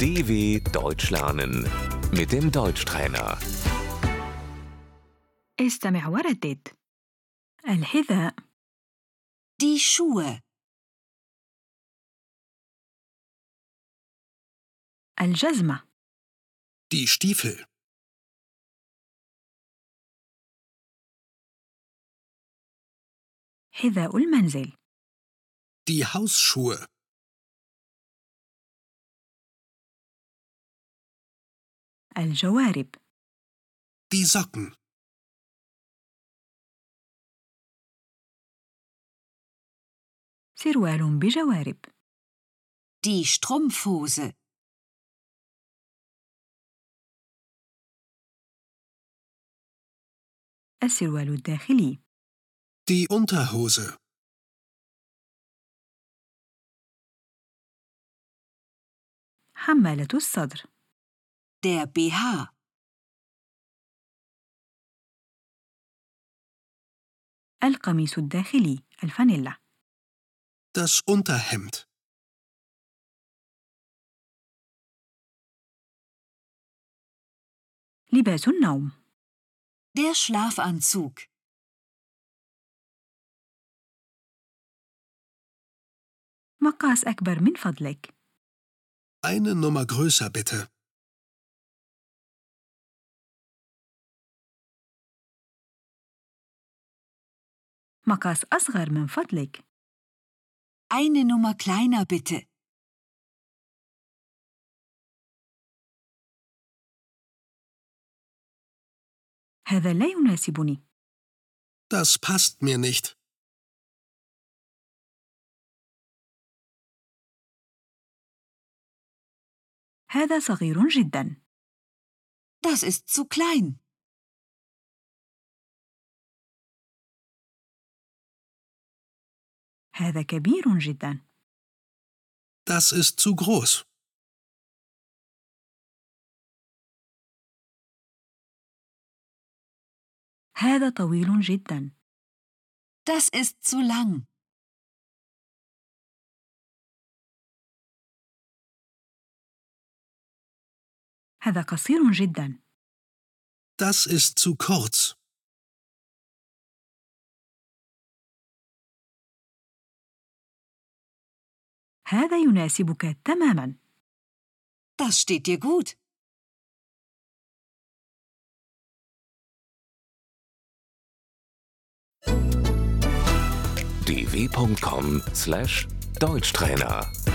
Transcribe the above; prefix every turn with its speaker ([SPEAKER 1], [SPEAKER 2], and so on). [SPEAKER 1] DW Deutsch lernen mit dem Deutschtrainer.
[SPEAKER 2] استمع وردد الحذاء
[SPEAKER 3] Die Schuhe,
[SPEAKER 2] الجزمة
[SPEAKER 4] Die Stiefel,
[SPEAKER 2] حذاء المنزل
[SPEAKER 4] die Hausschuhe,
[SPEAKER 2] الجوارب
[SPEAKER 4] die Socken,
[SPEAKER 2] سروال بجوارب
[SPEAKER 3] die Strumpfhose,
[SPEAKER 2] السروال الداخلي
[SPEAKER 4] die Unterhose,
[SPEAKER 2] حمالة الصدر
[SPEAKER 3] der BH,
[SPEAKER 2] القميص الداخلي الفانيلا
[SPEAKER 4] das Unterhemd,
[SPEAKER 2] لباس النوم
[SPEAKER 3] der Schlafanzug,
[SPEAKER 2] مقاس أكبر من فضلك
[SPEAKER 4] eine Nummer größer bitte.
[SPEAKER 2] مقاس أصغر من فضلك
[SPEAKER 3] eine Nummer kleiner bitte.
[SPEAKER 2] هذا لا يناسبني
[SPEAKER 4] Das passt mir nicht.
[SPEAKER 2] هذا صغير جدا
[SPEAKER 3] Das ist zu klein.
[SPEAKER 2] هذا كبير جدا
[SPEAKER 4] Das ist zu groß.
[SPEAKER 2] هذا طويل جدا
[SPEAKER 3] Das ist zu lang.
[SPEAKER 2] هذا قصير جدا
[SPEAKER 4] Das ist zu kurz.
[SPEAKER 2] هذا يناسبك تماما
[SPEAKER 3] Das steht dir gut.
[SPEAKER 1] dw.com/deutschtrainer